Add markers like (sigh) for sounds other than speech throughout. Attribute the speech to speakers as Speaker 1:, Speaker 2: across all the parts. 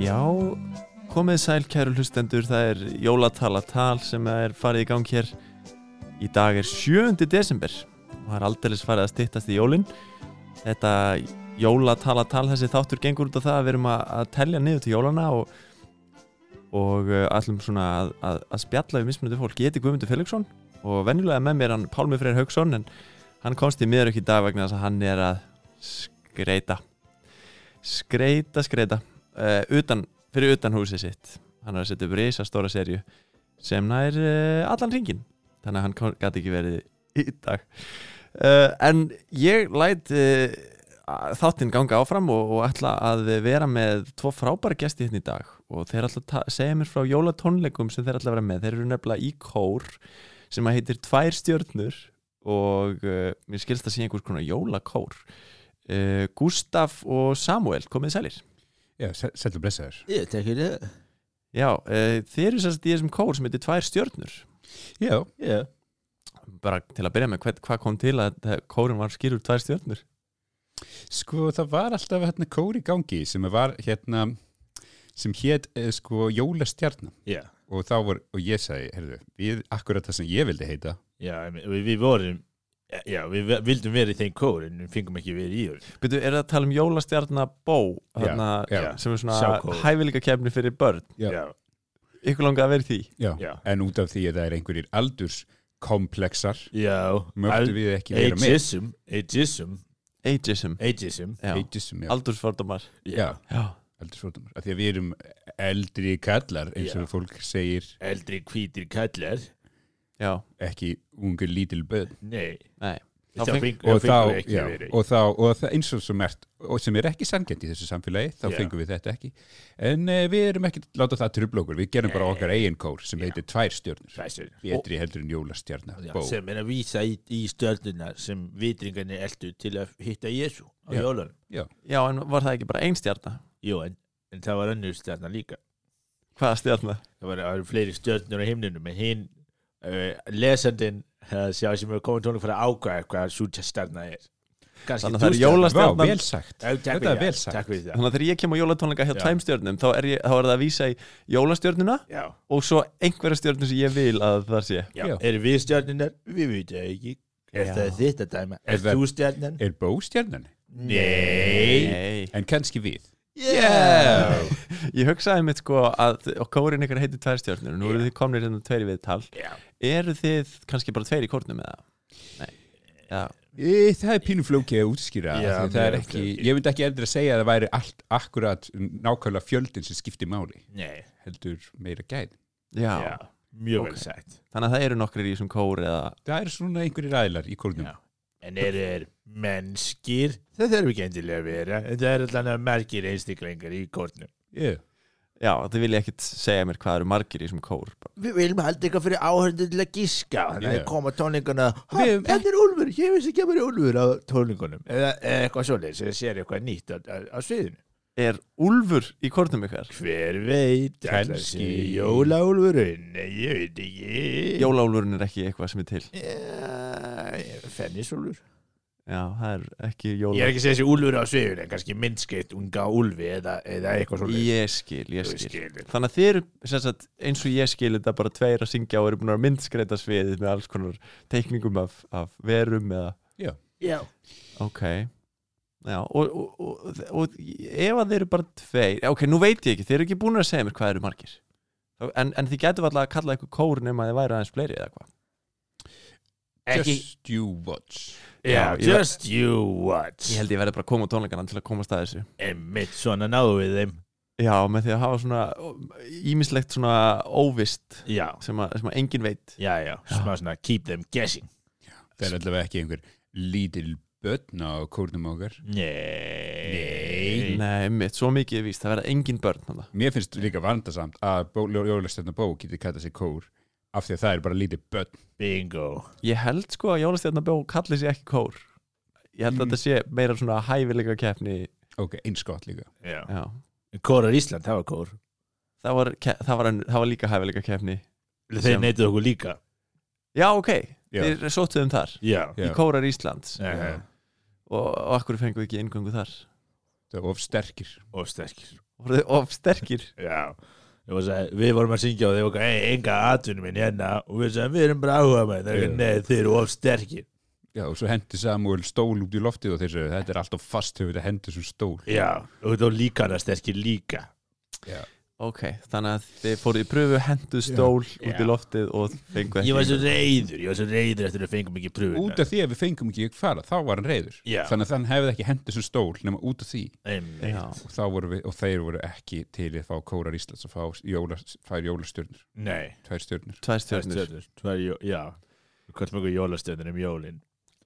Speaker 1: Já, komið sæl kæru hlustendur, það er jólatalatal sem er farið í gang hér. Í dag er 7. desember og það er aldeilis farið að styttast í jólinn. Þetta jólatalatal, þessi þáttur gengur út á það að við erum að, að telja niður til jólana og, og uh, allum svona að, að, að spjalla við mismunandi fólk. Ég heiti Guðmundur Felixson og venjulega með mér er hann Pálmi Freyr Haugsson en hann komst í miður ekki í dag vegna þess að hann er að skreita, skreita, skreita uh, utan, fyrir utan húsið sitt hann er að setja upp risa stóra serju sem nær uh, allan ringin þannig að hann gæti ekki verið í dag uh, en ég læt uh, að- þáttinn ganga áfram og, og ætla að vera með tvo frábæra gesti hérna í dag og þeir ætla að ta- segja mér frá jólatónleikum sem þeir ætla að vera með þeir eru nefnilega í kór sem að heitir Tvær stjörnur og uh, mér skilst að sé einhvers konar jólakór uh, Gustaf og Samuel komið sælir
Speaker 2: Já, sættu blessaður.
Speaker 3: Ég tekur þið
Speaker 1: Já, uh, þið eru sérst í þessum kór sem heitir Tvær stjörnur
Speaker 2: Já,
Speaker 3: Já,
Speaker 1: bara til að byrja með hvað, hvað kom til að þetta- kórinn var skýrur Tvær stjörnur
Speaker 2: sko það var alltaf hérna kór í gangi sem var hérna sem hétt eh, sko jólastjarnan
Speaker 3: já,
Speaker 2: og þá var, og ég sagði, heyrðu, við akkurat það sem ég vildi heita
Speaker 3: já en við, við vorum Já, við vildum vera í þeim kór en við fengum ekki verið í úr
Speaker 1: Byrju, er það að tala um jólastjarnabó hana,
Speaker 2: já,
Speaker 3: já.
Speaker 1: sem er svona
Speaker 3: Sjákór.
Speaker 1: hæfileika kemni fyrir börn
Speaker 2: Já.
Speaker 3: Já,
Speaker 1: ykkur langaði að vera í því
Speaker 2: já.
Speaker 3: Já.
Speaker 2: en út af því að það er einhverjir aldurskomplexar
Speaker 3: já
Speaker 2: mögtu við ekki vera með
Speaker 3: Ageism, ageism,
Speaker 1: ageism,
Speaker 3: ageism
Speaker 1: já,
Speaker 2: Eitism, já,
Speaker 1: aldursfordumar
Speaker 2: já,
Speaker 1: já,
Speaker 2: aldursfórdómar af því að við erum eldri kallar eins og
Speaker 3: Já.
Speaker 2: fólk segir
Speaker 3: Eldri hvítir kallar
Speaker 1: já,
Speaker 2: ekki ungu lítil böð
Speaker 3: Nei,
Speaker 1: nei Þá
Speaker 3: þá
Speaker 1: feng-
Speaker 3: feng-
Speaker 2: og
Speaker 3: þá fengum
Speaker 2: þá,
Speaker 3: við ekki
Speaker 2: já,
Speaker 3: verið í
Speaker 2: og þá og það eins og sem er, og sem er ekki sangjönd í þessu samfélagi, þá
Speaker 3: Já.
Speaker 2: fengum við þetta ekki en uh, við erum ekki að láta það trubla okkur, við gerum bara
Speaker 3: Nei.
Speaker 2: okkar eigin kór sem
Speaker 3: Já.
Speaker 2: heitir tvær stjörnur
Speaker 3: Fæsir
Speaker 2: betri heldur en jólastjarnar
Speaker 3: Já,
Speaker 2: bó,
Speaker 3: sem er að vísa í, í stjörnuna sem vitringarnir eldu til að hitta Jésu á
Speaker 2: Já.
Speaker 3: jólanum
Speaker 1: já, en var það ekki bara ein stjarna
Speaker 3: Jú, en, en það var önnur stjörna líka
Speaker 1: hvaða stjarna,
Speaker 3: það var, það var fleiri stjörnur á himninu en hinn uh, lesandin uh, sjá sem hefur komið tónleik fyrir að ákvæða hvað sú stjörna er kannski
Speaker 1: Þannig að það er jóla-
Speaker 2: Vá,
Speaker 1: stjarnan-
Speaker 2: vel sagt
Speaker 3: þetta
Speaker 2: Þetta er vel sagt.
Speaker 3: takk fyrir það
Speaker 1: þannig að þegar ég kem á jólatónleika hjá
Speaker 3: Já.
Speaker 1: tveim stjörnum, þá er, ég, þá er það að vísa í jólastjörnuna
Speaker 3: já,
Speaker 1: og svo einhverja stjörnum sem ég vil að það sé
Speaker 3: já.
Speaker 2: Já.
Speaker 3: eru við stjörnunar? við vitum það ekki er
Speaker 1: Já.
Speaker 3: það þitt að dæma?
Speaker 2: Er
Speaker 3: er
Speaker 2: það-
Speaker 3: þú stjörnan?
Speaker 2: er bó stjarnan,
Speaker 3: nei
Speaker 1: nei,
Speaker 2: en kannski við
Speaker 3: já
Speaker 1: Ég hugsaði mitt sko að og kórin ykkur heitir tvær stjórnur og nú eru
Speaker 3: Já.
Speaker 1: þið komnir hérna tveir í viðtal
Speaker 3: já,
Speaker 1: eru þið kannski bara tveir í kórnum eða? Nei Já,
Speaker 2: e, það er pínu flókið að útskýra
Speaker 3: Já,
Speaker 2: af því það er
Speaker 3: mjög
Speaker 2: ekki,
Speaker 3: flókið.
Speaker 2: ég myndi ekki endur að segja að það væri allt akkurat nákvæmlega fjöldin sem skiptir máli,
Speaker 3: nei,
Speaker 2: heldur meira gæð
Speaker 1: já.
Speaker 3: já mjög
Speaker 1: Ok.
Speaker 3: vel sagt
Speaker 1: þannig að það eru nokkrir í þessum kór eða
Speaker 2: það er svona einhverjir aðilar í kórnum
Speaker 3: já. en eru er mennskir það þarf ekki endilega að vera en það er allan að merkir einstaklingar í kórnum
Speaker 2: yeah.
Speaker 1: Já, þið vilja ekkit segja mér hvað eru margir í þessum kór bara.
Speaker 3: við viljum halda eitthvað fyrir áhörðu til að gíska þannig
Speaker 2: Já.
Speaker 3: að koma tónlinguna
Speaker 2: Við höfum
Speaker 3: þetta hérna er Úlfur, ég veist ekki að vera Úlfur á tónlingunum eða eða eitthvað svoleiðis, eða sér eitthvað nýtt á, á, á sviðinu
Speaker 1: Er Úlfur í kórnum ykkar?
Speaker 3: hver veit, ætli það sé
Speaker 2: Kannski.
Speaker 3: Jóla Úlfurinn, nei, ég veit ekki
Speaker 1: Jólaúlfurinn er ekki eitthvað sem er til
Speaker 3: Já, Fennis Úlfur
Speaker 1: Já, það er ekki
Speaker 3: ég er
Speaker 1: jóla
Speaker 3: ekki að segja þessi Úlfur á sviðinu en kannski myndskeitt unga Úlfi eða, eða eitthvað svoleiðis
Speaker 1: Ég skil, ég
Speaker 3: Þú
Speaker 1: skil
Speaker 3: skilur.
Speaker 1: Þannig að þið eru sem sagt, eins og ég skil þetta bara tveir að syngja og eru búin að myndskreita sviðið með alls konar teikningum af, af verum eða
Speaker 3: Já.
Speaker 1: Ok Já, og, og, og, og ef að þeir eru bara tveir Já, Ok, nú veit ég ekki, þeir eru ekki búin að segja mér hvað eru margir En, en þið getur alltaf að kalla eitthvað kór nema að þið væri aðeins fleiri eða hvað
Speaker 3: Ekki,
Speaker 2: Just you watch
Speaker 3: já,
Speaker 1: Já, ég-
Speaker 3: just you watch
Speaker 1: Ég held ég verði bara að koma á tónleikana til að komast að þessu
Speaker 3: einmitt svona náðu við þeim
Speaker 1: Já, með því að hafa svona ímislegt svona óvist
Speaker 3: já,
Speaker 1: sem að, sem að engin veit
Speaker 3: já, já, smá svona keep them guessing
Speaker 2: Það er allavega ekki einhver lítil börn á kórnum okkar.
Speaker 3: Nei
Speaker 1: Nei, mitt, svo mikið er víst, það verða engin börn þarna.
Speaker 2: Mér finnst líka vandasamt að Jólastöndar Bó getið kallað sér kór af því að það er bara lítið börn.
Speaker 3: Bingo
Speaker 1: Ég held sko að Jólastjarnabjó kalli sig ekki kór ég held að þetta sé meira svona hæfileika keppni
Speaker 2: ok, eins gott líka
Speaker 3: Já.
Speaker 1: já.
Speaker 3: Kórar Ísland, það var kór
Speaker 1: það var, ke- það, var, önnur- það var líka hæfileika keppni
Speaker 3: Þeir
Speaker 1: Sem-
Speaker 3: neituð okkur líka
Speaker 1: já ok,
Speaker 2: Já.
Speaker 1: þeir sóttuðum þar
Speaker 3: Já,
Speaker 1: í Kórar Íslands
Speaker 3: Já, já.
Speaker 1: og, og akkur fengu ekki inngöngu þar
Speaker 2: það var of sterkir
Speaker 3: og sterkir
Speaker 1: voruð þið of sterkir
Speaker 3: Já Ég var að segja, Við vorum að syngja og þeir voru "Ei, enga atvinnum minn hérna og við sagðum við erum bara áhuga með þeir,
Speaker 2: Já.
Speaker 3: yeah. Nei, þeir eru of sterkir
Speaker 2: já, og svo hendi Samuel stól út í loftið og þeir sagði, þetta er alltaf fast hefur þetta hendi sem stól
Speaker 3: Já, og þú líka hana sterkir líka
Speaker 1: ok, þannig að þið fóruð í pröfu henduð stól út
Speaker 3: Já.
Speaker 1: í loftið og fengu ekki
Speaker 3: Ég var svo
Speaker 1: inngöngu.
Speaker 3: reyður, ég var svo reyður eftir að við fengum ekki pröfuna
Speaker 2: út af því að við fengum ekki að fara, þá var hann reyður
Speaker 3: Já.
Speaker 2: þannig að þann hefði ekki hendi sem stól nema út af því
Speaker 3: Einmitt.
Speaker 1: já,
Speaker 2: og, þá voru við, og þeir voru ekki til í að fá kórar Íslands að fá jóla, fær jólastjörnur,
Speaker 3: Nei,
Speaker 2: tvær stjörnur
Speaker 1: tvær
Speaker 3: það er
Speaker 1: stjórnir
Speaker 3: stjörnur Það er, jó- já Hvað mjög jólastöðnir um jólin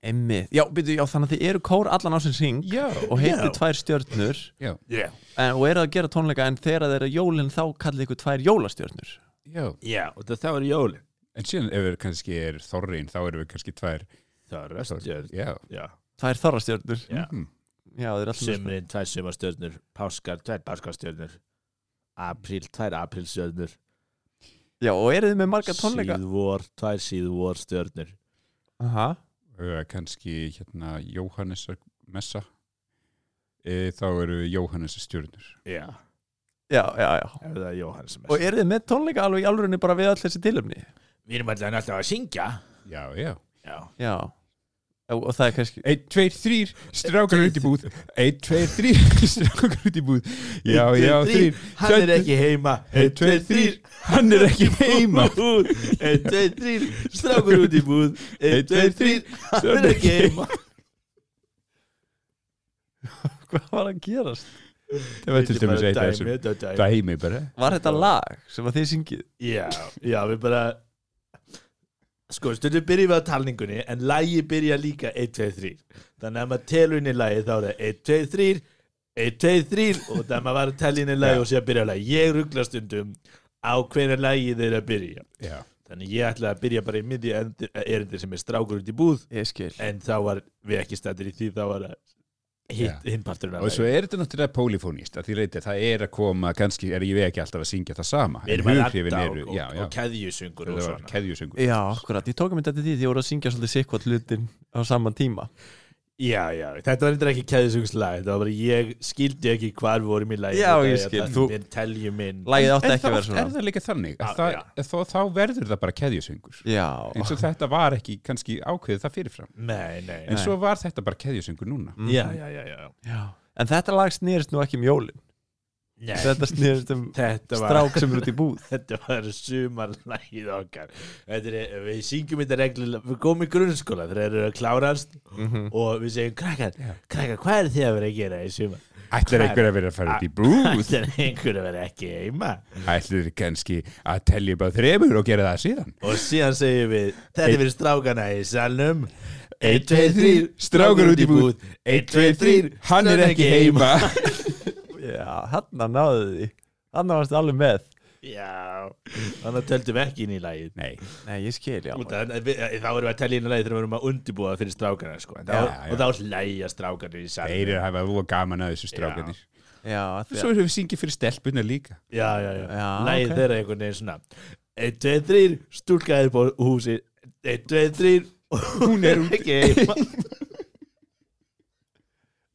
Speaker 1: Einmitt. Já, byrju, já, þannig að þið eru kór allan ásins hring
Speaker 2: já,
Speaker 1: og heitir
Speaker 3: Já.
Speaker 1: tvær stjörnur
Speaker 3: Já,
Speaker 1: en, og eru að gera tónleika en þegar þeir eru jólinn þá kallið ykkur tvær jólastjörnur
Speaker 2: já
Speaker 3: já, og það, það var jólin
Speaker 2: en síðan ef við kannski er þorrin þá erum við kannski tvær
Speaker 3: Það var reststjörn
Speaker 2: já,
Speaker 3: Já,
Speaker 1: tvær þorrastjörnur
Speaker 3: já
Speaker 2: Mhm.
Speaker 1: já, þeir eru alltaf
Speaker 3: Sumrin, tvær sumarstjörnur Páskar, tvær páskastjörnur April, tvær aprilstjörnur
Speaker 1: já, og eru þið með marga tónleika
Speaker 3: Síðvor, tvær síðvor stjörnur
Speaker 1: Aha.
Speaker 2: Ö, kannski hérna Jóhannesar messa e, þá eru Jóhannesar stjörnur
Speaker 3: Já,
Speaker 1: já, já, já
Speaker 3: ef það er Jóhannes sem er
Speaker 1: og eru þið með tónleika alveg í alvörunni bara við allir þessi tilöfni
Speaker 3: Við erum allan alltaf að syngja
Speaker 2: já, já,
Speaker 3: Já,
Speaker 1: já, og, og það er
Speaker 2: (laughs)
Speaker 1: kannski
Speaker 2: 1, 2, 3, strákar út í búð 1, 2, 3, (laughs) strákar út í búð já,
Speaker 3: Einn, tveir,
Speaker 2: já,
Speaker 3: þrír.
Speaker 2: 3
Speaker 3: Hann er ekki heima Einn, tveir, þrír
Speaker 2: hann er ekki heima
Speaker 3: Út. (laughs) Einn, tveir, þrír Strákur út í búð Einn, tveir, þrír Hann er ekki heima
Speaker 1: hvað var að gerast
Speaker 2: það var til dæmis eitt af þessum
Speaker 3: Dæmi, þetta er dæmi.
Speaker 2: dæmi bara
Speaker 1: var þetta lag sem að þið syngið
Speaker 3: Já, já, við bara Sko, stundum byrjum við á talningunni En lægi byrja líka 1, 2, 3 Þannig að ef maður telur inn í lægi Þá er það 1, 2, 3 1, 2, 3 Og þannig að maður var að telja inn í lægi Og sé að byrja lægi Ég ruggla stundum á hverju lægi þeir eru að byrja
Speaker 2: já,
Speaker 3: Þannig ég ætla að byrja bara í miðju endi- erindi sem er strákur út í búð
Speaker 1: ég skil
Speaker 3: en þá var við ekki stættir í því þá var það hitt- hinn parturinn
Speaker 2: og svo er þetta náttúrulega polifónist að því reyti að það er að koma kannski er ég ekki alltaf að syngja það sama
Speaker 3: við erum að
Speaker 2: hughrifin
Speaker 3: ratta og,
Speaker 2: eru,
Speaker 3: og,
Speaker 2: já, já,
Speaker 3: og keðjusungur og
Speaker 2: það var
Speaker 3: svona
Speaker 2: keðjusungur
Speaker 1: já, akkurat, ég tók að mynda þetta því því ég voru að syngja svolítið sikkvart hlutin á saman tíma
Speaker 3: já, já, þetta var eitthvað ekki keðjusungslag þetta var bara ég skildi ekki hvar við vorum í lægi
Speaker 1: Já, ég skil,
Speaker 3: þú
Speaker 1: þú-
Speaker 3: teljum inn
Speaker 1: lagið átti
Speaker 2: en
Speaker 1: ekki
Speaker 2: það
Speaker 1: að vera
Speaker 2: er
Speaker 1: svona
Speaker 2: það líka þannig
Speaker 3: Já,
Speaker 2: að það,
Speaker 3: já.
Speaker 2: að þó, þá verður það bara keðjusöngur
Speaker 1: já,
Speaker 2: eins og þetta var ekki kannski ákveðið það fyrirfram
Speaker 3: nei, nei,
Speaker 2: en svo var þetta bara keðjusöngur núna
Speaker 1: Mm.
Speaker 3: já, já, já, já
Speaker 1: já en þetta lag snýrist nú ekki um jólin
Speaker 3: nei,
Speaker 1: þetta snýrist um
Speaker 3: þetta var
Speaker 1: strák sem er út í búð
Speaker 3: þetta var sumarlægið okkar þetta er, við syngjum þetta reglulega við komum í grunnskóla þegar þeir eru að klárast
Speaker 1: Mhm.
Speaker 3: og við segjum krakkar,
Speaker 2: Já.
Speaker 3: krakkar hvað er þið að vera að gera í sumar
Speaker 2: ætlar einhver að vera að fara út í
Speaker 3: (laughs)
Speaker 2: búð
Speaker 3: ætlar einhver að vera ekki heima
Speaker 2: ætlar kannski að telja bara þremur og gera það síðan
Speaker 3: og síðan segjum við þetta er
Speaker 2: Einn-
Speaker 3: fyrir strákana í salnum 1,
Speaker 2: Einn,
Speaker 3: 2,
Speaker 2: tveir,
Speaker 3: 3,
Speaker 2: þrír, strákar út í búð.
Speaker 3: 1, 2, 3,
Speaker 2: hann er ekki heima (laughs)
Speaker 1: já, hann að náðu því hann varst alveg með
Speaker 3: já, þannig að töldum ekki inn í lagið
Speaker 2: nei,
Speaker 1: nei, ég skil, já
Speaker 3: Út af- við- eh, þá erum við að tella inn í lagið þegar við erum að undibúa það fyrir strákana sko. En þá,
Speaker 2: Já, já.
Speaker 3: og þá hlæja strákana í salnum
Speaker 2: þeir eru að hafa vóða gaman að þessu strákanir
Speaker 1: já, af því
Speaker 2: svo erum við syngið fyrir stelpuna líka
Speaker 3: já, já, já,
Speaker 1: Já,
Speaker 3: lagið
Speaker 1: ok.
Speaker 3: þeirra einhvern veginn svona 1, 2, 3, stúlkaði upp á húsi 1, 2, 3 (laughs) hún er ekki heima
Speaker 1: að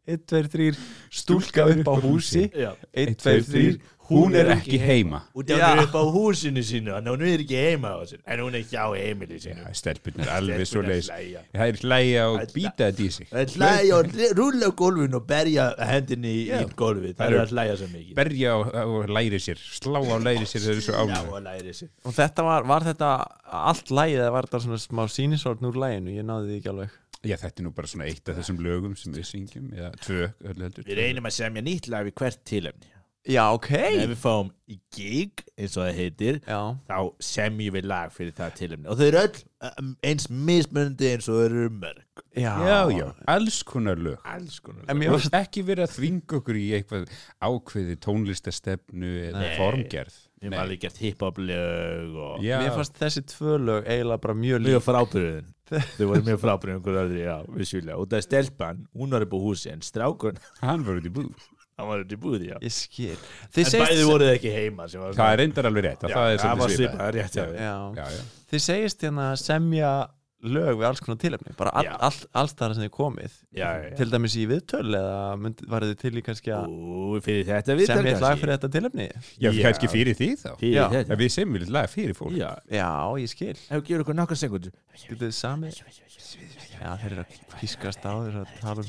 Speaker 1: 1, 2, 3, stúlka upp á húsi
Speaker 3: já
Speaker 1: 1,
Speaker 2: Einn,
Speaker 1: 2,
Speaker 2: tveir,
Speaker 1: 3
Speaker 2: þrír, hún er ekki heima
Speaker 3: og það er
Speaker 1: Já.
Speaker 3: upp á húsinu sínu þannig að hún er ekki heima á þessu en hún er hjá heimili sínu
Speaker 2: Já, stelpuna er alveg svo
Speaker 3: Stelpurnar
Speaker 2: leiðis
Speaker 3: hlæja.
Speaker 2: það er hlæja og
Speaker 3: Þær
Speaker 2: býta þetta í sig
Speaker 3: Það er hlæja og re- rúlla á gólfinu og berja hendinni í, í gólfið það
Speaker 2: Það
Speaker 3: er
Speaker 2: eru-
Speaker 3: að hlæja svo mikið
Speaker 2: berja og, og læri sér slá á læri sér þeir eru svo
Speaker 3: já
Speaker 2: ánægð
Speaker 3: og læri sér
Speaker 1: og þetta var, var þetta allt lagið eða var þetta svona smá sínisort úr laginu ég náði því ekki alveg
Speaker 2: Já, þetta er nú bara svona eitt af þessum lögum sem við syngjum, eða tvö, öllu heldur.
Speaker 3: við reynum að semja nýtt lag við hvert tilöfni
Speaker 1: já, ok
Speaker 3: ef við fáum í gig eins og það heitir
Speaker 1: já,
Speaker 3: þá semjum við lag fyrir það tilöfni og þau eru öll um, eins mismunandi eins og þau eru mörg
Speaker 1: já,
Speaker 2: Já, já, alls konar lög.
Speaker 3: alls konar
Speaker 1: en
Speaker 3: lög.
Speaker 1: mér
Speaker 2: Ekki verið að þvinga okkur í eitthvað ákveði tónlistastefnu eða
Speaker 3: Nei.
Speaker 2: formgerð. Nei.
Speaker 3: Við hefum alveg gert hip-hop lög og
Speaker 2: Já.
Speaker 1: Mér fannst þessi tvö lög eiginlega bara mjög líf
Speaker 3: mjög
Speaker 2: (laughs)
Speaker 3: frábriðin Þau voru mjög frábriðin hverju öðru, já, vissjulega Og það er stelpan, hún var upp á húsi En strákun,
Speaker 2: Hann var út í búð.
Speaker 3: (laughs) hann var upp í búði, já
Speaker 1: Ég skil Þið
Speaker 3: En bæði
Speaker 1: segist,
Speaker 3: voru þið ekki heima sem var
Speaker 2: Það er reyndar alveg rétt. að
Speaker 3: Já,
Speaker 2: það er
Speaker 3: það var
Speaker 2: svolítið
Speaker 3: svipað,
Speaker 2: svipað.
Speaker 3: rétt hjá þér.
Speaker 1: já,
Speaker 2: Já, já.
Speaker 1: þið segist hérna að semja lög við alls konar tilefni bara all,
Speaker 3: Já.
Speaker 1: all, alls þar sem þið komið
Speaker 3: Já, já, já.
Speaker 1: til dæmis í viðtöl eða mynd, var þið til í kannski að
Speaker 3: Ú, fyrir þetta við
Speaker 1: semja eitt lag fyrir þetta tilefni
Speaker 2: Já,
Speaker 3: Já.
Speaker 2: kannski fyrir því þá.
Speaker 1: Já.
Speaker 3: Fyrir
Speaker 2: Já,
Speaker 3: þetta
Speaker 2: við semjum litt lag fyrir fólk.
Speaker 3: Já,
Speaker 1: Já, ég skil
Speaker 3: ef við gerum okkur nokkar sekundur
Speaker 1: Getið þið sami Já, þeir eru að pískast á þeir eru að tala um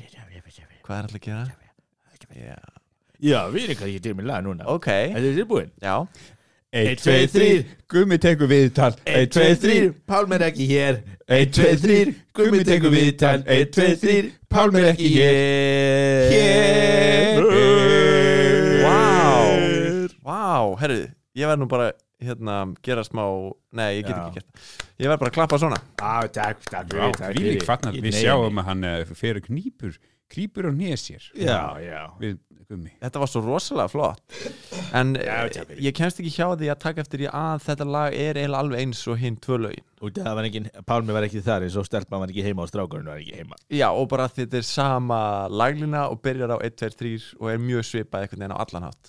Speaker 1: hvað er alltaf að gera Já,
Speaker 3: Já, við erum kannski til með lag núna
Speaker 1: ok
Speaker 3: Er þið tilbúin?
Speaker 1: Já,
Speaker 2: Eitt, tveið, þrýr. Gummi tekur viðtal.
Speaker 3: 1, 2, 3, Pálm er ekki hér 1, 2, 3, Gummi tekur viðtal 1, 2, 3,
Speaker 2: Pálm er ekki hér.
Speaker 3: Hér
Speaker 1: Vá Vá, herru, ég verð nú bara hérna, gera smá, nei, ég get
Speaker 3: Já.
Speaker 1: ekki gert það Ég verð bara að klappa svona
Speaker 3: Á, takk, takk
Speaker 2: Já,
Speaker 3: fyrir, takk
Speaker 2: við
Speaker 3: fyrir.
Speaker 2: kvarnar.
Speaker 3: Í
Speaker 2: Við
Speaker 3: neyðinni.
Speaker 2: sjáum að hann eh, fer knýpur, krýpur á nésir.
Speaker 3: Já, já
Speaker 2: Við gummi.
Speaker 1: Þetta var svo rosalega flott En
Speaker 3: Já,
Speaker 1: eh,
Speaker 3: takk fyrir.
Speaker 1: ég kemst ekki hjá því að taka eftir í að þetta lag er eiginlega alveg eins og hinn tvö lögin
Speaker 3: Og það var ekki, Pálmi var ekki þar eins og stelpan var ekki heima og strákurinn var ekki heima
Speaker 1: Já, og bara að þetta er sama laglina og byrjar á 1, 2, 3 og er mjög svipað einhvern veginn á allan hátt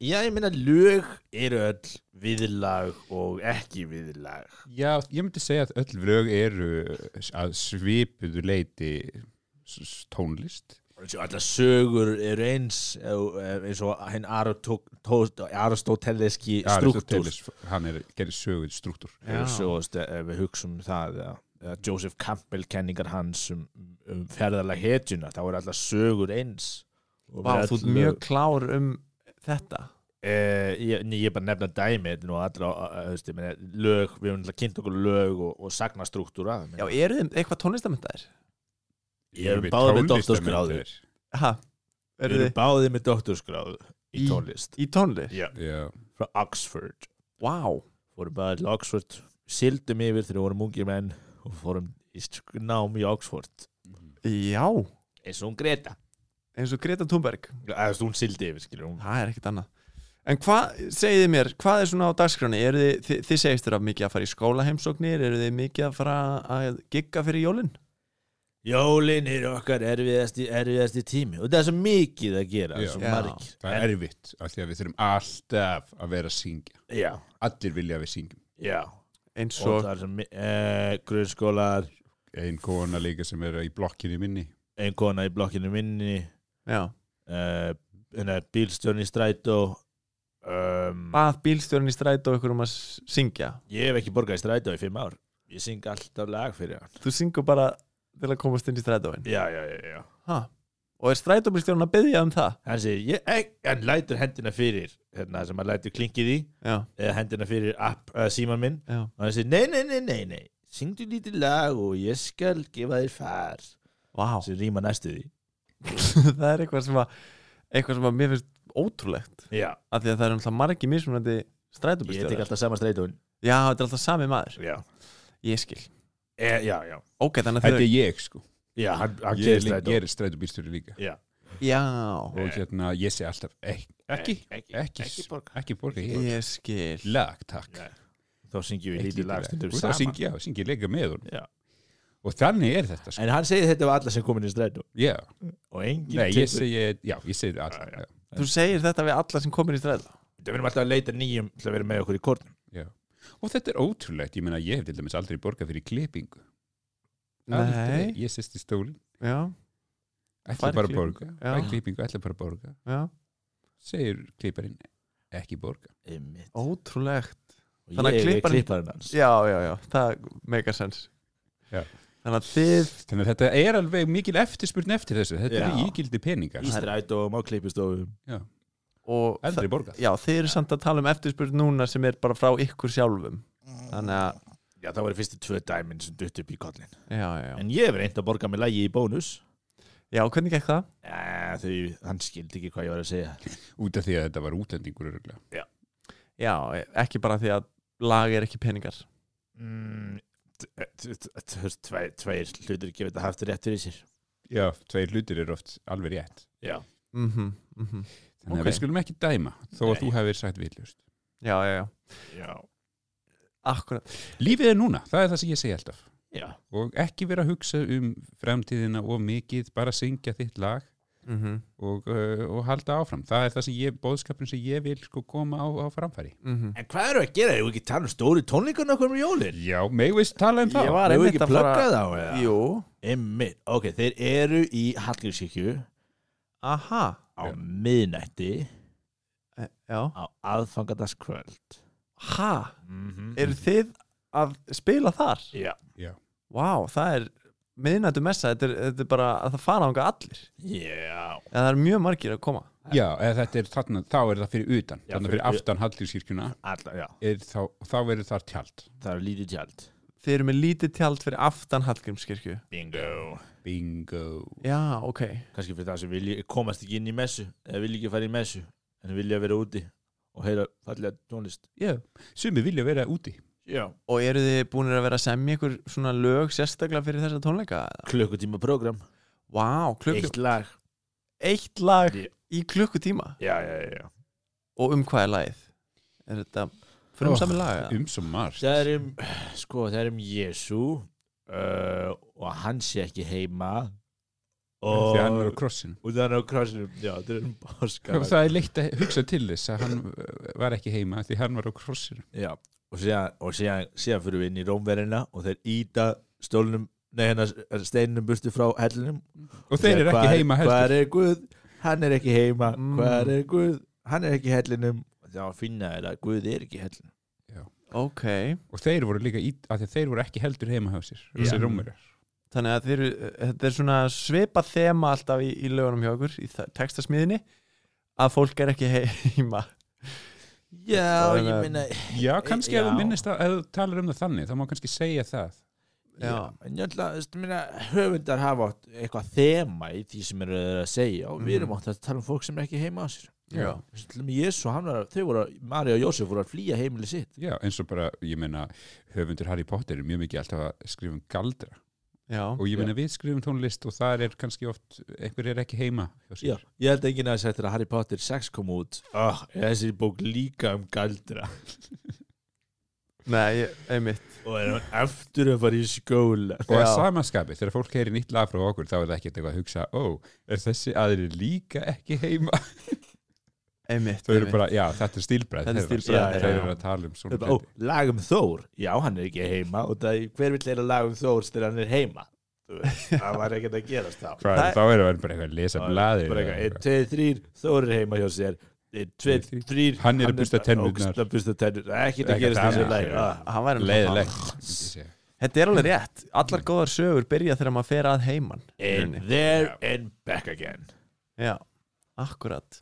Speaker 3: Já, ég meina lög eru öll viðlag og ekki viðlag
Speaker 2: Já, ég myndi segja að öll vlög eru að svipuðu leiti s- s- tónlist.
Speaker 3: Eins og Allar sögur eru eins eh, eins og hinn aristóteleski struktúr
Speaker 2: Aristóteles, Hann er gerðið söguð struktúr.
Speaker 1: Já.
Speaker 3: svo ef við hugsaum það eða, eða Joseph Campbell kenningar hans um, um ferðarlag hetjuna þá er alltaf sögur eins og
Speaker 1: Vá,
Speaker 3: við
Speaker 1: þú ert
Speaker 3: öll-
Speaker 1: mjög klár um þetta
Speaker 3: Eh, ég, nei, ég er bara að nefna dæmi þetta er nú allra, eh, þú veist, ég meina, lög við höfum alltaf kynnt okkur lög og, og sagnastruktúra
Speaker 1: Já,
Speaker 3: ég meina,
Speaker 1: eru þið eitthvað tónlistamöndaðir?
Speaker 3: Ég er
Speaker 2: Við
Speaker 3: báðir með
Speaker 2: tónlistarmyndir.
Speaker 3: doktorsgráður.
Speaker 1: Ha,
Speaker 3: við
Speaker 1: eru
Speaker 3: erum
Speaker 1: þið
Speaker 3: báðið með doktorskráð í
Speaker 1: Í-
Speaker 3: tónlist
Speaker 1: í tónlist?
Speaker 3: já,
Speaker 2: Já,
Speaker 3: frá Oxford
Speaker 1: Vá,
Speaker 3: fórum bara til Oxford sildum yfir þegar við vorum ungir menn og fórum í sk- nám í Oxford
Speaker 1: já,
Speaker 3: eins og hún Greta
Speaker 1: eins og Greta Thunberg
Speaker 3: eða þú veist, hún sildi yfir skilur hún
Speaker 1: Það er ekkert annað En hvað, segið þið mér, hvað er svona á dagskráni? Eru þið, þið, þið segist þér að mikið að fara í skólaheimsóknir? Eru þið mikið að fara að gigga fyrir jólinn?
Speaker 3: Jólin er okkar erfiðasti, erfiðasti tími og það er svo mikið að gera,
Speaker 2: Já.
Speaker 3: svo
Speaker 1: Já.
Speaker 3: margir
Speaker 2: það er erfitt af því að við þurfum alltaf að vera að syngja.
Speaker 3: Já,
Speaker 2: Allir vilja að við syngjum.
Speaker 3: já
Speaker 1: Eins
Speaker 3: og
Speaker 1: og,
Speaker 3: það er svo mi- eh, grunnskólar
Speaker 2: Einn kona líka sem er í blokkinni minni.
Speaker 3: ein kona í blokkinu minni
Speaker 1: já,
Speaker 3: eh, hérna, bílstjórn í strætó um,
Speaker 1: að bílstjórn í stræt og ykkur um að s- syngja
Speaker 3: Ég hef ekki borgað í strætó í fimm ár Ég syng alltaf lag fyrir hann
Speaker 1: Þú syngur bara til að komast inn í strætóin
Speaker 3: Já, já, já, já
Speaker 1: ha. Og er strætóbílstjórn að byggja um það?
Speaker 3: Hann segir, ég, ek, hann lætur hendina fyrir hérna, sem hann lætur klinkið í
Speaker 1: Já,
Speaker 3: eða hendina fyrir app, uh, síman minn
Speaker 1: já,
Speaker 3: og hann segir, nei, nei, nei, nei, nei syngdu lítið lag og ég skal gefa þér far
Speaker 1: vá
Speaker 3: sem rýma næstu því
Speaker 1: (laughs) Það er eitthvað sem að eitthvað sem að mér finnst ótrúlegt
Speaker 3: já,
Speaker 1: af því að það er um margi mismunandi
Speaker 3: ég tek
Speaker 1: strætóbílstjórar
Speaker 3: alltaf sama streitun
Speaker 1: Já, þetta er alltaf sami maður,
Speaker 3: já.
Speaker 1: ég skil
Speaker 3: E, já, já,
Speaker 1: Ok, þannig að
Speaker 2: Þetta
Speaker 1: þau,
Speaker 2: er ég sko.
Speaker 3: já hann, hann
Speaker 2: Ég
Speaker 3: gerir
Speaker 2: er líka-
Speaker 3: streitun
Speaker 2: ég er strætóbílstjóri líka.
Speaker 3: já,
Speaker 1: já,
Speaker 2: Og hérna, ég segi alltaf ek- ekki,
Speaker 3: Eh, ekki,
Speaker 2: ekki,
Speaker 3: ekki borga.
Speaker 2: ekki borga ég.
Speaker 1: ég skil
Speaker 2: Lag, takk.
Speaker 3: Nei, þá syngjum við
Speaker 2: Eitt
Speaker 3: lítið lag stundum
Speaker 2: Og það
Speaker 3: saman
Speaker 2: syngi, já, syngi leika með honum.
Speaker 3: Já.
Speaker 2: Og þannig er þetta sko.
Speaker 3: en hann segir þetta var alla sem komin í streitun
Speaker 2: Já,
Speaker 3: og engin
Speaker 2: nei, ég segi, já, ég segi það
Speaker 3: Já, já.
Speaker 2: alltaf.
Speaker 1: Þú segir þetta við alla sem komir í strætó
Speaker 3: við erum alltaf að leita nýjum til að vera með okkur í kórnum
Speaker 2: Já. Og þetta er ótrúlegt, ég meina ég hef til dæmis aldrei borgað fyrir klippingu. Aldrei,
Speaker 1: Nei,
Speaker 2: ég sest í stólinn,
Speaker 1: já,
Speaker 2: ætla
Speaker 1: Fær
Speaker 2: bara að
Speaker 1: klippingu,
Speaker 2: borga,
Speaker 1: já.
Speaker 2: fæ klippingu, ætla bara að borga,
Speaker 1: já,
Speaker 2: segir klipparinn ekki borga.
Speaker 3: Einmitt. og
Speaker 1: ótrúlegt
Speaker 3: ég
Speaker 1: Þannig að
Speaker 3: er
Speaker 1: klipparinn-
Speaker 3: klipparinn hans
Speaker 1: Já, já, já, það meikar sens
Speaker 2: Já.
Speaker 1: Þannig að þið,
Speaker 2: Þannig að þetta er alveg mikil eftirspurn eftir þessu, þetta
Speaker 3: Já.
Speaker 2: er ígildi peningar,
Speaker 3: í strætum á klippistofum
Speaker 1: og það,
Speaker 2: aldrei borgað.
Speaker 1: já, þið eru samt að tala um eftirspurn núna sem er bara frá ykkur sjálfum Þannig að,
Speaker 3: já, það var fyrstu tvö dæmin sem dutt upp í kollin
Speaker 1: já, já, já,
Speaker 3: en ég hef reynd að borga með lagi í bónus
Speaker 1: já, hvernig gekk það?
Speaker 3: Ja, þau, hann skildi ekki hvað ég var að segja
Speaker 2: Út af því að þetta var útlendingur öruglega.
Speaker 1: Já, ekki bara því að lag er ekki peningar
Speaker 3: mm, t- t- t- t- tveir, tveir hlutur gefið að haft rétt fyrir sér
Speaker 2: Já, tveir hlutir eru oft alveg rétt.
Speaker 3: já,
Speaker 1: mm -hmm, mm -hmm.
Speaker 2: Þannig
Speaker 1: Ok.
Speaker 2: að við skulum ekki dæma, þó að
Speaker 3: Nei.
Speaker 2: þú hefur sagt viljust.
Speaker 1: já, já, já,
Speaker 3: Já.
Speaker 1: akkurat
Speaker 2: Lífið er núna, það er það sem ég segi alltaf
Speaker 3: Já.
Speaker 2: og ekki vera að hugsa um framtíðina of mikið, bara syngja þitt lag
Speaker 1: mm -hmm.
Speaker 2: og, uh, og halda áfram það er það sem ég, bóðskapin sem ég vil sko koma á, á framfæri
Speaker 1: mhm.
Speaker 3: En hvað eru að gera? Ég vil ekki tala um stóru tónleikana okkur um jólin.
Speaker 2: Já, megum við tala um það
Speaker 3: Ég var
Speaker 1: Eigum við
Speaker 3: einmitt
Speaker 1: ekki
Speaker 3: að
Speaker 1: að fara-
Speaker 3: plugga þá. eða?
Speaker 1: Jú,
Speaker 3: Einmitt. Ok, þeir eru í Hallgrímskirkju
Speaker 1: aha
Speaker 3: á
Speaker 2: Já.
Speaker 3: miðnætti
Speaker 1: e, Já,
Speaker 3: á aðfangadagskvöld.
Speaker 1: ha,
Speaker 3: Mm -hmm.
Speaker 1: eru þið að spila þar?
Speaker 3: Já.
Speaker 1: Vá, það er miðnættu messa, þetta er, þetta er bara að það fara ánga allir
Speaker 3: Já.
Speaker 1: en það er mjög margir að koma
Speaker 2: Já, eða þetta er þarna, þá er það fyrir utan
Speaker 3: Já,
Speaker 2: þannig
Speaker 3: fyrir-
Speaker 2: fyrir aftan Hallgrímskirkjuna
Speaker 3: Alla, já.
Speaker 2: er þá, þá verður þar tjald
Speaker 3: Það eru lítið tjald.
Speaker 1: Þið eru með lítið tjald fyrir aftan Hallgrímskirkju
Speaker 3: Bingo.
Speaker 2: Bingo
Speaker 1: Já, ok
Speaker 3: kannski fyrir það sem vilji, komast ekki inn í messu eða vilji ekki fara í messu en vilja vera úti og heyra fallega tónlist
Speaker 2: Já, sumi vilja vera úti
Speaker 3: Já.
Speaker 1: Og eru þið búinir að vera að semja ykkur svona lög sérstaklega fyrir þessa tónleika? eða?
Speaker 3: klukkutíma program,
Speaker 1: Vá, klukku, eitt.
Speaker 3: eitt lag
Speaker 1: lag
Speaker 3: Ég-
Speaker 1: í klukkutíma
Speaker 3: já, já, já, já.
Speaker 1: Og um hvað er lagið? Er þetta frumsami oh, lag?
Speaker 2: um svo margt
Speaker 3: það er um, sko, það er um Jésu uh, og hann sé ekki heima og
Speaker 2: þegar hann er á krossinu
Speaker 3: og það er á krossinum já, það er um páska
Speaker 2: og það er leitt að hugsa til þess að hann uh, var ekki heima því hann var á krossinu
Speaker 3: já, og síðan, og síðan, síðan fyrir við inn í rómverina og þeir íta stólnum nei, hennar steinunum burtu frá hellinum
Speaker 2: og þeir eru
Speaker 3: Hvar-
Speaker 2: ekki heima
Speaker 3: Hvar
Speaker 2: heldur
Speaker 3: er Guð? Hann er ekki heima
Speaker 1: Mm.
Speaker 3: Hvar er Guð? Hann er ekki í hellinum Já, finna er að Guð er ekki í hellinum
Speaker 1: Ok,
Speaker 2: og þeir voru líka í, að þeir voru ekki heldur heima hjá sér
Speaker 1: Já.
Speaker 2: þessi rómur
Speaker 1: þannig að þið eru, þetta er svona svipað þema alltaf í, í lögunum hjá okkur í þa- textasmiðinni að fólk er ekki (laughs) heima
Speaker 3: Já,
Speaker 1: Það er
Speaker 3: ég
Speaker 1: að-
Speaker 3: minna
Speaker 2: Já, kannski ef
Speaker 3: Eh, Já.
Speaker 2: þú minnist að, ef þú talar um það þannig, þá má kannski segja það.
Speaker 1: Já.
Speaker 3: En ég ætla, þú veist, minna, höfundar hafa átt eitthvað þema í því sem eru þeir að segja og við erum
Speaker 1: Mhm.
Speaker 3: átt að tala um fólk sem er ekki heima á sér
Speaker 1: Já.
Speaker 3: Slum Jésu, hann var, þau voru, að- María og Jósef voru að flýja heimili sitt
Speaker 2: Já, eins og bara, ég meina, höfundur Harry Potter er mjög mikið alltaf að skrifa um galdra
Speaker 1: Já,
Speaker 2: og ég meina við skrifum tónlist og þar er kannski oft, einhver er ekki heima hjá sér.
Speaker 3: Já, ég held enginn að þess eftir að Harry Potter 6 kom út oh, Þessi bók líka um galdra
Speaker 1: nei, ég- einmitt
Speaker 3: og er hann eftir að fara í skóla
Speaker 2: Og að
Speaker 1: Já.
Speaker 2: samaskapi, þegar fólk heyri nýtt lag frá okkur, þá er það ekkert eitthvað að hugsa, ó, er þessi aðri líka ekki heima?
Speaker 1: Einmitt,
Speaker 2: Þau eru
Speaker 1: einmitt.
Speaker 2: bara, já, þetta er stílbræð.
Speaker 1: Þetta er
Speaker 2: þeirra.
Speaker 1: stílbragð,
Speaker 2: Þau
Speaker 3: já.
Speaker 2: eru að tala um svona.
Speaker 3: Ó,
Speaker 2: hluti.
Speaker 3: lag um Þór, já hann er ekki heima og það, hver vill leira lag um Þór þegar hann er heima Þú veist, (laughs) það var ekkert að gerast þá
Speaker 2: Hvað,
Speaker 1: það-
Speaker 2: þá eru við bara eitthvað að lesa
Speaker 3: Bara
Speaker 2: blaðir.
Speaker 3: eitthvað, einn, tveið, þrýr, Þór er heima hjá sér einn, tveið,
Speaker 2: Tveir,
Speaker 3: þrýr
Speaker 2: Hann er að bursta tennurnar.
Speaker 3: ógeðslega að bursta tennurnar. ekkert að
Speaker 2: Ekkert
Speaker 3: gerast í þessu
Speaker 2: annað,
Speaker 3: lag
Speaker 2: já.
Speaker 3: Ah,
Speaker 1: Hann væri nú-
Speaker 2: Leðilegt. myndi ég segja.
Speaker 1: Þetta er alveg rétt, allar góðar sögur byrja þegar maður fer að heiman í
Speaker 3: and
Speaker 1: rauninni.
Speaker 3: there and back again
Speaker 1: Já, akkurat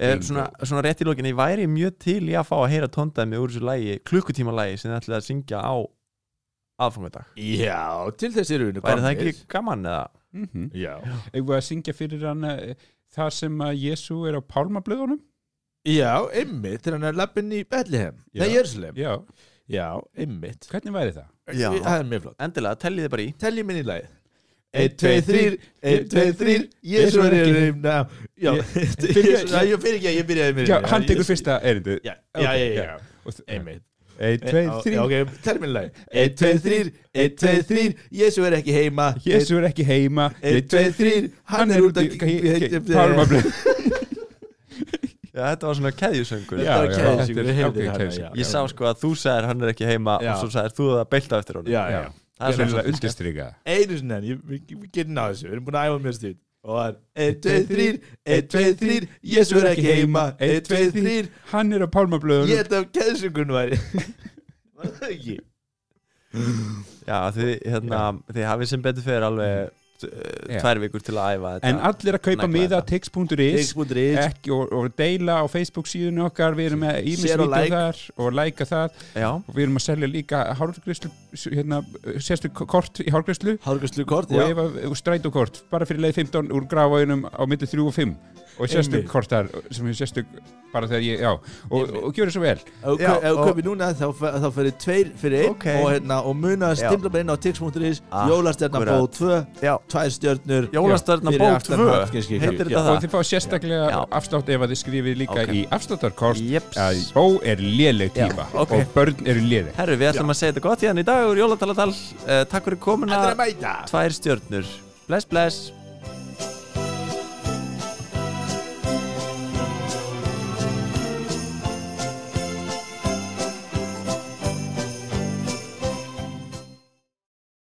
Speaker 1: er, svona, svona rétt í lokin, ég væri mjög til í að fá að heyra tóndæmi úr þessu lægi, klukkutíma lægi sem þið ætlaði að syngja á aðfangadag
Speaker 3: já, til þessi runu
Speaker 1: Væri það ekki gaman eða?
Speaker 2: Mhm.
Speaker 3: já,
Speaker 2: Eða að syngja fyrir hann eh, þar sem að Jésu er á pálmablöðunum?
Speaker 3: já, ymmið þegar hann er lappin í Bethlehem
Speaker 2: Já.
Speaker 3: nei, Jörslem,
Speaker 2: Já,
Speaker 3: já, ymmið
Speaker 2: hvernig væri það?
Speaker 1: Já.
Speaker 3: það er mjög flott
Speaker 1: Endilega, teljið þið bara í
Speaker 3: Teljum inn í lagið
Speaker 2: Einn, tveir, þrír, einn, tveir, þrír, Jesú er ekki-
Speaker 3: heimna Já, (laughs)
Speaker 2: Ég-
Speaker 3: Jesú- Já, ég fyrir ekki að ég byrjaði með
Speaker 2: Já,
Speaker 3: henni.
Speaker 2: hann tekur
Speaker 3: Jesú-
Speaker 2: fyrsta erindi.
Speaker 3: Já, já, já, já,
Speaker 2: Og þ-
Speaker 3: einmitt Eh,
Speaker 2: Einn, tveir,
Speaker 3: Já,
Speaker 2: þrír.
Speaker 3: Ok, teljum inn í lagið Einn, tveir, þrír, einn, tveir, þrír Jésu er ekki heima
Speaker 2: Jésu er ekki heima.
Speaker 3: Einn, tveir, þrír, hann er út að
Speaker 2: pálmablöðunum.
Speaker 1: Já, þetta var svona keðjusöngur
Speaker 3: Þetta var
Speaker 2: Já, já,
Speaker 3: keðjusjúkur,
Speaker 2: þetta er-
Speaker 3: heyrðir
Speaker 2: ok,
Speaker 3: hana,
Speaker 2: keðjusjúkur.
Speaker 1: Ég sá sko að þú sagðir hann er ekki heima
Speaker 3: Já.
Speaker 1: og svo sagðir þú að belta eftir honum
Speaker 3: Já, já,
Speaker 2: Já,
Speaker 1: Það er
Speaker 2: það er
Speaker 1: svona
Speaker 2: að undirstryka.
Speaker 3: einu sinni en ég- við við getum náðu þessu, við erum búin að æfa mjög stíl og hann, einn, tveir, þrír, einn, tveir, þrír Jésu er ekki heima, einn, tveir, þrír
Speaker 2: Hann er á
Speaker 3: Ég
Speaker 2: pálmablöðunum.
Speaker 3: held að keðsöngun væri Var það ekki?
Speaker 1: Já, þið, hérna, þið hafið sem betur fyrir alveg t- eh,
Speaker 2: Já.
Speaker 1: tvær vikur til að æfa þetta
Speaker 2: En allir að kaupa
Speaker 1: Negla
Speaker 2: miða
Speaker 1: þetta.
Speaker 2: tix.is
Speaker 3: Tix.is
Speaker 2: ekki og, og deila á Facebook síðunni okkar við erum með ímis
Speaker 3: Share og
Speaker 2: vídeo
Speaker 3: like.
Speaker 2: þar og læka það
Speaker 1: Já,
Speaker 2: og við erum að selja líka hárgrislu hérna, sérstu kort í hárgrislu
Speaker 3: Hárgræslu kort,
Speaker 2: og
Speaker 3: já
Speaker 2: ef að, og strætókort, bara fyrir leið 15 úr gráfaunum á myndi 3 og 5 og sérstök
Speaker 3: Einmitt.
Speaker 2: kort þar sem er sérstök bara þegar ég, já, og, og, og gjöru svo vel
Speaker 3: Ef þú
Speaker 1: Já,
Speaker 3: kau- ef þú
Speaker 1: og-
Speaker 3: kaupir núna þá, fe- þá fyrir tveir fyrir einn
Speaker 1: Ókei.
Speaker 3: og, hérna, og muna að
Speaker 1: Já.
Speaker 3: stimpla bara inn á tix.is
Speaker 1: Akkurat.
Speaker 3: Jólastjarnar bóð 2
Speaker 1: já,
Speaker 3: tvær stjörnur
Speaker 1: Jólastjarnan
Speaker 3: fyrir
Speaker 1: bók
Speaker 3: aftan
Speaker 1: 2.
Speaker 3: Hallgrímskirkju.
Speaker 1: Heitir
Speaker 3: Já.
Speaker 1: þetta
Speaker 2: og
Speaker 1: það?
Speaker 2: þið fá sérstaklega
Speaker 1: Já.
Speaker 2: afslátt ef að þið skrifir líka
Speaker 1: Ok.
Speaker 2: í afsláttarkost
Speaker 1: Jeps.
Speaker 2: að bó er léleg típa
Speaker 1: Já, ok.
Speaker 2: og börn eru léleg
Speaker 1: Herru, við ætlum að segja þetta gott hérna í dag úr jólatalatal uh, Takk Eh, fyrir komuna,
Speaker 3: Allir að mæta
Speaker 1: tvær stjörnur Bless, bless